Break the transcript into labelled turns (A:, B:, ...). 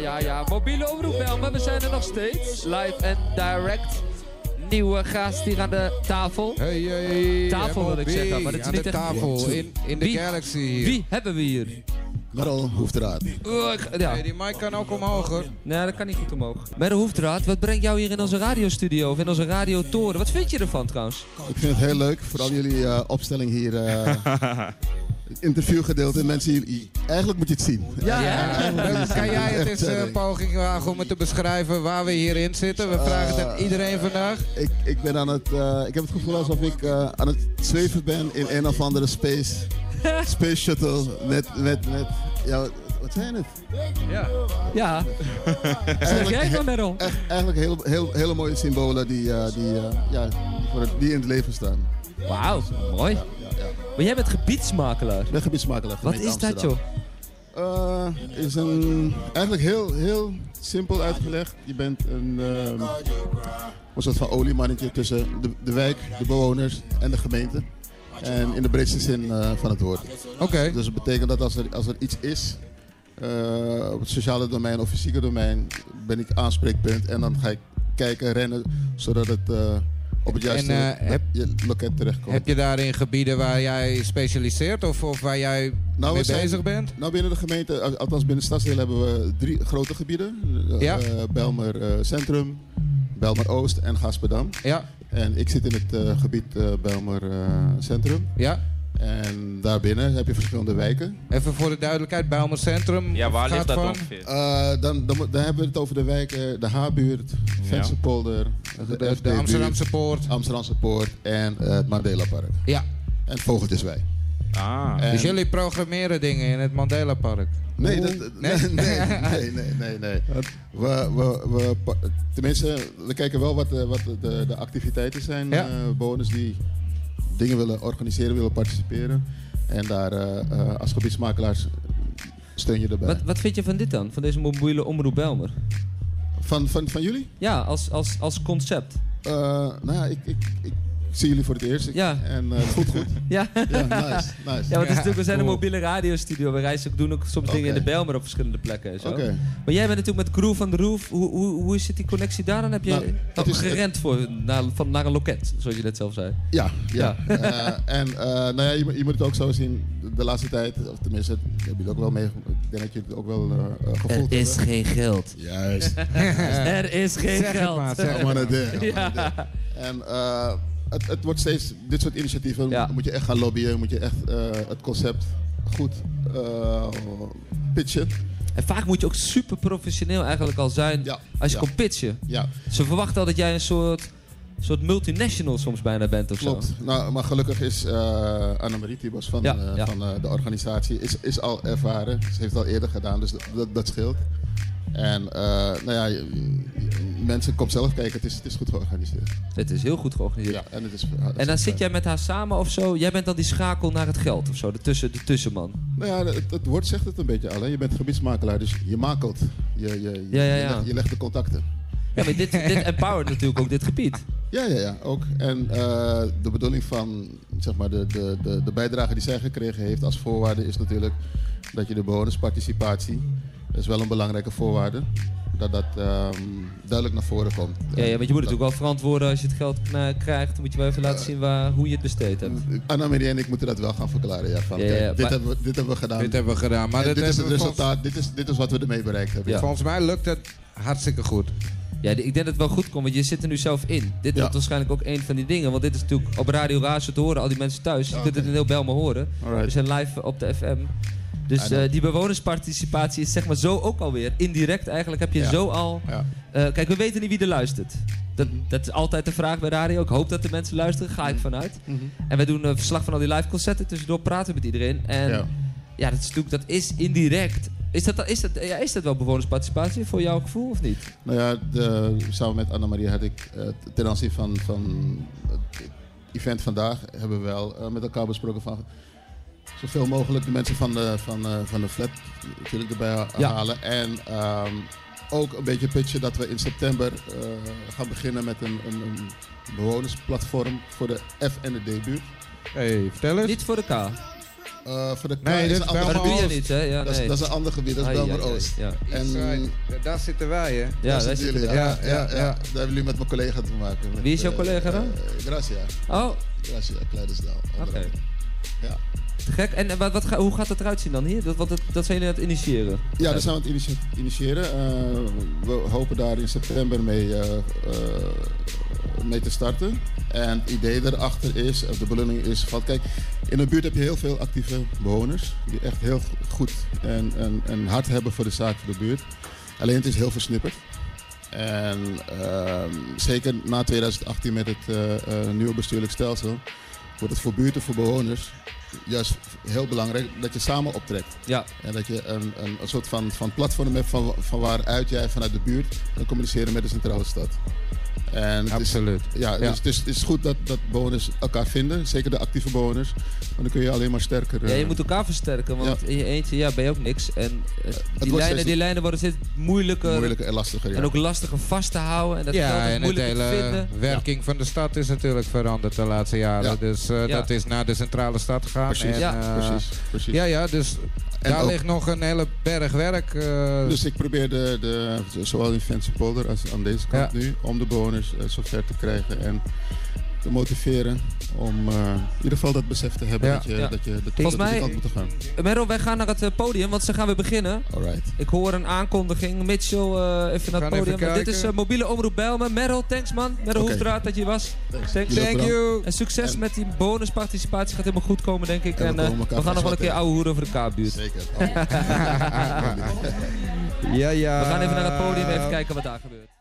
A: ja, ja. Mobiele omroep wel, maar we zijn er nog steeds. Live en direct. Nieuwe gast hier aan de tafel.
B: Hey, hey,
A: Tafel wil ik
B: MLB,
A: zeggen, maar het is
B: aan
A: niet
B: de
A: echt-
B: tafel, in, in de
A: Wie?
B: galaxy hier.
A: Wie hebben we hier?
C: Merel Hoefdraad.
A: Oh, ik ga- ja.
B: Hey, die mic kan ook omhoog hoor.
A: Nee, dat kan niet goed omhoog. Merel Hoefdraad, wat brengt jou hier in onze radiostudio of in onze radiotoren? Wat vind je ervan trouwens?
C: Ik vind het heel leuk, vooral jullie eh, opstelling hier. eh, het interviewgedeelte. Mensen, hier- eigenlijk moet je het zien.
A: Ja,
B: Dan kan jij het eens eh, een
C: Echt, eh,
B: poging wagen om het te beschrijven waar we hierin zitten? We vragen het aan
A: Eh.
B: iedereen vandaag.
C: ik, ik, ben aan het, eh, ik heb het gevoel alsof ik eh, aan het zweven ben in een of andere space, space shuttle. Met, met, met, ja, wat- wat zijn het?
A: Ja, zeg Eh. jij van Merel?
C: Echt, eigenlijk heel, heel, hele mooie symbolen die, eh, die, eh, ja, die, voor het, die in het leven staan.
A: Wauw, mooi.
C: Ja, ja.
A: Maar jij bent gebiedsmakelaar.
C: Ik ben gebiedsmakelaar.
A: Wat
C: gemeente
A: is dat
C: Amsterdam.
A: joh?
C: Eh, is een, eigenlijk heel, heel simpel uitgelegd. Je bent een, ehm, een soort van oliemannetje tussen de, de wijk, de bewoners en de gemeente. En in de breedste zin eh, van het woord.
B: Oké.
C: Dus dat betekent dat als er, als er iets is, eh, op het sociale domein of fysieke domein, ben ik aanspreekpunt. En dan ga ik kijken, rennen, zodat het eh, op het juiste
B: En, eh, heb-
C: je loket terechtkomt.
B: Heb je daarin gebieden waar jij specialiseert of, of waar jij
C: Nou,
B: mee
C: we zijn-
B: bezig bent?
C: Nou, binnen de gemeente, al- althans binnen het stadsdeel, hebben we drie grote gebieden: Eh,
B: Ja.
C: eh, Bijlmer eh, Centrum, Bijlmer Oost en Gasperdam.
B: Ja,
C: En ik zit in het eh, gebied eh Bijlmer eh, Centrum.
B: ja.
C: En daarbinnen heb je verschillende wijken.
B: Even voor de duidelijkheid, Bijlmer Centrum.
D: Ja, waar
B: gaat
D: ligt dat
B: van?
D: ongeveer?
C: Eh, dan, dan, mo- dan hebben we het over de wijken: de H-buurt, Vensterpolder,
B: De,
C: de,
B: de
C: FD -buurt,
B: Amsterdamse Poort.
C: Amsterdamse Poort en eh, het Mandela Park.
B: Ja.
C: En Vogeltjeswijk.
D: Ah.
C: En-
B: Dus jullie programmeren dingen in het Mandela Park.
C: Nee, dat, dat- nee?
B: Nee?
C: nee, nee, nee, nee, nee. We, we, we, pa- tenminste, we kijken wel wat, de- wat de, de activiteiten zijn.
B: Ja.
C: eh bewoners die dingen willen organiseren, willen participeren. En daar eh, eh, als gebiedsmakelaars steun je erbij.
A: Wat, wat vind je van dit dan? Van deze mobiele omroep Belmer?
C: Van, van, van jullie?
A: Ja, als, als, als concept.
C: Eh, nou ja, ik, ik, ik zie jullie voor het eerst. Ik-
A: Ja.
C: En eh, goed, goed.
A: Ja, ja
C: Ja, nice, nice.
A: want het is natuurlijk, we zijn een
B: cool.
A: mobiele radiostudio. We reizen, ook- doen ook soms dingen in de
C: Oké.
A: Belmer op verschillende plekken en zo.
C: Oké.
A: Maar jij bent natuurlijk met Crew van de Roof. Hoe, hoe, hoe zit die connectie daar dan? Heb je
C: Nou, het
A: oh,
C: is-
A: gerend voor, naar, van, naar een loket, zoals je net zelf zei?
C: Ja, ja. Eh, en eh, nou ja, je, moet- je moet het ook zo zien, de, de laatste tijd, of tenminste, dat heb je het ook wel mee, ik denk dat je het ook wel eh, eh, gevoeld hebt.
A: geen geld.
C: Juist.
A: Er is geen
B: Zeg het
A: geld.
B: maar, zeg
C: I'm on a dare, I'm on a dare. En eh, het, het wordt steeds, dit soort initiatieven,
A: Ja.
C: moet je echt gaan lobbyen, moet je echt eh, het concept goed eh, pitchen.
A: En vaak moet je ook super professioneel eigenlijk al zijn
C: Ja,
A: als je
C: ja.
A: komt pitchen.
C: Ja,
A: Ze verwachten al dat jij een soort, soort multinational soms bijna bent of zo.
C: klopt. Nou, maar gelukkig is eh Annemarie Tibos van,
A: Ja,
C: eh,
A: ja.
C: van eh, de organisatie is, is al ervaren. Ze heeft het al eerder gedaan, dus dat- dat, dat scheelt. En eh, nou ja, je- je- mensen, kom zelf kijken, het is, het is goed georganiseerd.
A: Het is heel goed georganiseerd.
C: Ja, en, het is,
A: En dan zit jij met haar samen of zo. Jij bent dan die schakel naar het geld of zo, de, tussen, de tussenman.
C: Nou ja, het, het woord zegt het een beetje al. Hè? Je bent gebiedsmakelaar, dus je makelt. Je, je, je,
A: Ja, ja,
C: je
A: ja.
C: legt, je legt de contacten.
A: Ja, maar dit, dit empowert natuurlijk ook dit gebied.
C: Ja, ja, ja, ook. En eh, de bedoeling van zeg maar, de, de, de, de bijdrage die zij gekregen heeft als voorwaarde is natuurlijk dat je de bewonersparticipatie, dat is wel een belangrijke voorwaarde, dat dat ehm, duidelijk naar voren komt.
A: Ja, ja, want je moet natuurlijk wel verantwoorden als je het geld kna- krijgt. moet je wel even laten zien waar, hoe je het besteed hebt.
C: Annemarie en ik moeten dat wel gaan verklaren. Ja, van,
A: Ja, ja,
C: kijk, dit,
A: maar-
C: hebben we, dit hebben we gedaan.
B: Dit hebben we gedaan. Maar
C: En
B: dat
C: dit is het
B: hebben we vol-
C: resultaat, dit is, dit is wat we ermee bereikt hebben.
A: Ja.
B: Volgens mij lukt het hartstikke goed.
A: Ja, die- ik denk dat het wel goed komt, want je zit er nu zelf in. Dit
C: Ja.
A: wordt waarschijnlijk ook een van die dingen. Want dit is natuurlijk op Radio Razo te horen, al die mensen thuis. Je kunt het in heel Belmen horen.
C: Alright.
A: We zijn live op de FM. Dus
C: Ja,
A: eh, die bewonersparticipatie is zeg maar zo ook alweer. Indirect eigenlijk heb je
C: Ja.
A: zo al...
C: Ja.
A: Eh, kijk, we weten niet wie er luistert. Dat, dat is altijd de vraag bij radio. Ik hoop dat de mensen luisteren,
C: Mm.
A: ga ik vanuit.
C: Mhm.
A: En we doen een verslag van al die live concerten. Tussendoor praten we met iedereen. En ja,
C: Ja.
A: dat, is natuurlijk, dat is indirect. Is dat, is, dat, ja, is dat wel bewonersparticipatie voor jouw gevoel of niet?
C: Nou ja, de, samen met Annemarie had ik eh, ten aanzien van, van het event vandaag hebben we wel eh, met elkaar besproken van zoveel mogelijk de mensen van de, van, eh, van de flat natuurlijk erbij ha-
A: Ja.
C: halen. En ehm, ook een beetje pitchen dat we in september eh, gaan beginnen met een, een, een bewonersplatform voor de F en de D-buurt.
B: Hey, vertel eens.
A: Niet voor de K.
C: Eh, voor de K
B: Nee,
C: is
B: dit
C: een
B: is
C: ander
A: Maar dat doe je
B: Belmer-Oost.
A: niet, hè? Ja,
C: dat, is,
A: nee.
C: dat is een ander gebied, dat is
A: Ai, ai,
C: Belmer Oost.
A: ai, Ja,
C: En
B: Eastside, daar zitten wij, hè?
C: daar
A: ja daar
C: zitten
A: zit
C: jullie,
A: het.
B: ja.
C: ja, ja, ja,
B: Ja, ja.
C: Daar hebben jullie met mijn collega te maken. Met,
A: Wie is jouw
C: eh,
A: collega dan?
C: eh, Gracia.
A: Oh,
C: Gracia, Kleidersdaal. onder
A: Oké.
C: andere. Ja.
A: te gek. En eh, wat, wat, ga- hoe gaat dat eruit zien dan hier? Dat, wat, dat, dat zijn jullie aan het initiëren.
C: Ja, daar zijn we aan het initi- initiëren. Eh, we hopen daar in september mee, eh, eh, mee te starten. En het idee daarachter is, of de beloning is van, kijk, in de buurt heb je heel veel actieve bewoners. Die echt heel go- goed en, en, en hard hebben voor de zaak van de buurt. Alleen het is heel versnipperd. En ehm, zeker na 2018 met het eh, eh, nieuwe bestuurlijk stelsel wordt het voor buurten, voor bewoners juist heel belangrijk dat je samen optrekt.
A: Ja,
C: En dat je een, een, een soort van, van platform hebt van, van waaruit jij vanuit de buurt kan communiceren met de centrale stad. En het is,
B: Absoluut.
C: ja,
B: Ja.
C: Dus, dus het is goed dat, dat bewoners elkaar vinden, zeker de actieve bewoners. Want dan kun je alleen maar sterker.
A: Ja, je
C: eh,
A: moet elkaar versterken, want in je eentje ja, ben je ook niks. En eh, die,
C: wordt
A: lijnen,
C: steeds-
A: die lijnen worden steeds moeilijker,
C: moeilijker en lastiger. Ja.
A: eh, en ook lastiger vast te houden. En dat
B: ja,
A: geld is
B: en het
A: moeilijker te
B: hele
A: vinden.
B: werking van de stad is natuurlijk veranderd de laatste jaren.
C: Ja.
B: Dus
A: Ja.
B: eh, dat is naar de centrale stad gegaan.
C: Precies,
B: en,
A: Ja.
B: eh,
C: precies, precies.
B: Ja, ja, dus
C: En
B: daar
C: ook-
B: ligt nog een hele berg werk. eh,
C: Dus ik probeer de, de, zowel in Vensterpolder als aan deze kant
B: Ja.
C: nu om de bewoners eh, zover te krijgen en te motiveren om eh, in ieder geval dat besef te hebben
B: Ja.
C: dat je,
A: Ja.
C: dat je dat,
A: Volgens
C: dat we die
A: mij-
C: kant moeten gaan.
A: Merel, wij gaan naar het eh, podium, want ze gaan weer beginnen.
C: Alright.
A: Ik hoor een aankondiging. Mitchell, eh, even naar
B: gaan
A: het podium.
B: even
A: Want dit is
B: kijken.
A: eh, mobiele omroep Bijlmer. Merel, thanks man. Merel
C: Oké.
A: Hoefdraad dat je hier was. Thanks.
C: Thanks. Jullie ook
B: Thank
C: bedankt.
B: you.
A: En succes
C: En-
A: met die bonusparticipatie. Gaat helemaal goed komen, denk ik.
C: En we
A: En, eh,
C: komen elkaar
A: we gaan nog wel een
C: vast
A: keer
C: wat
A: ouwe hoeren over de K-buurt.
C: Zeker.
A: we
B: Ja, ja.
C: Eh,
A: gaan even naar het podium even kijken wat daar gebeurt.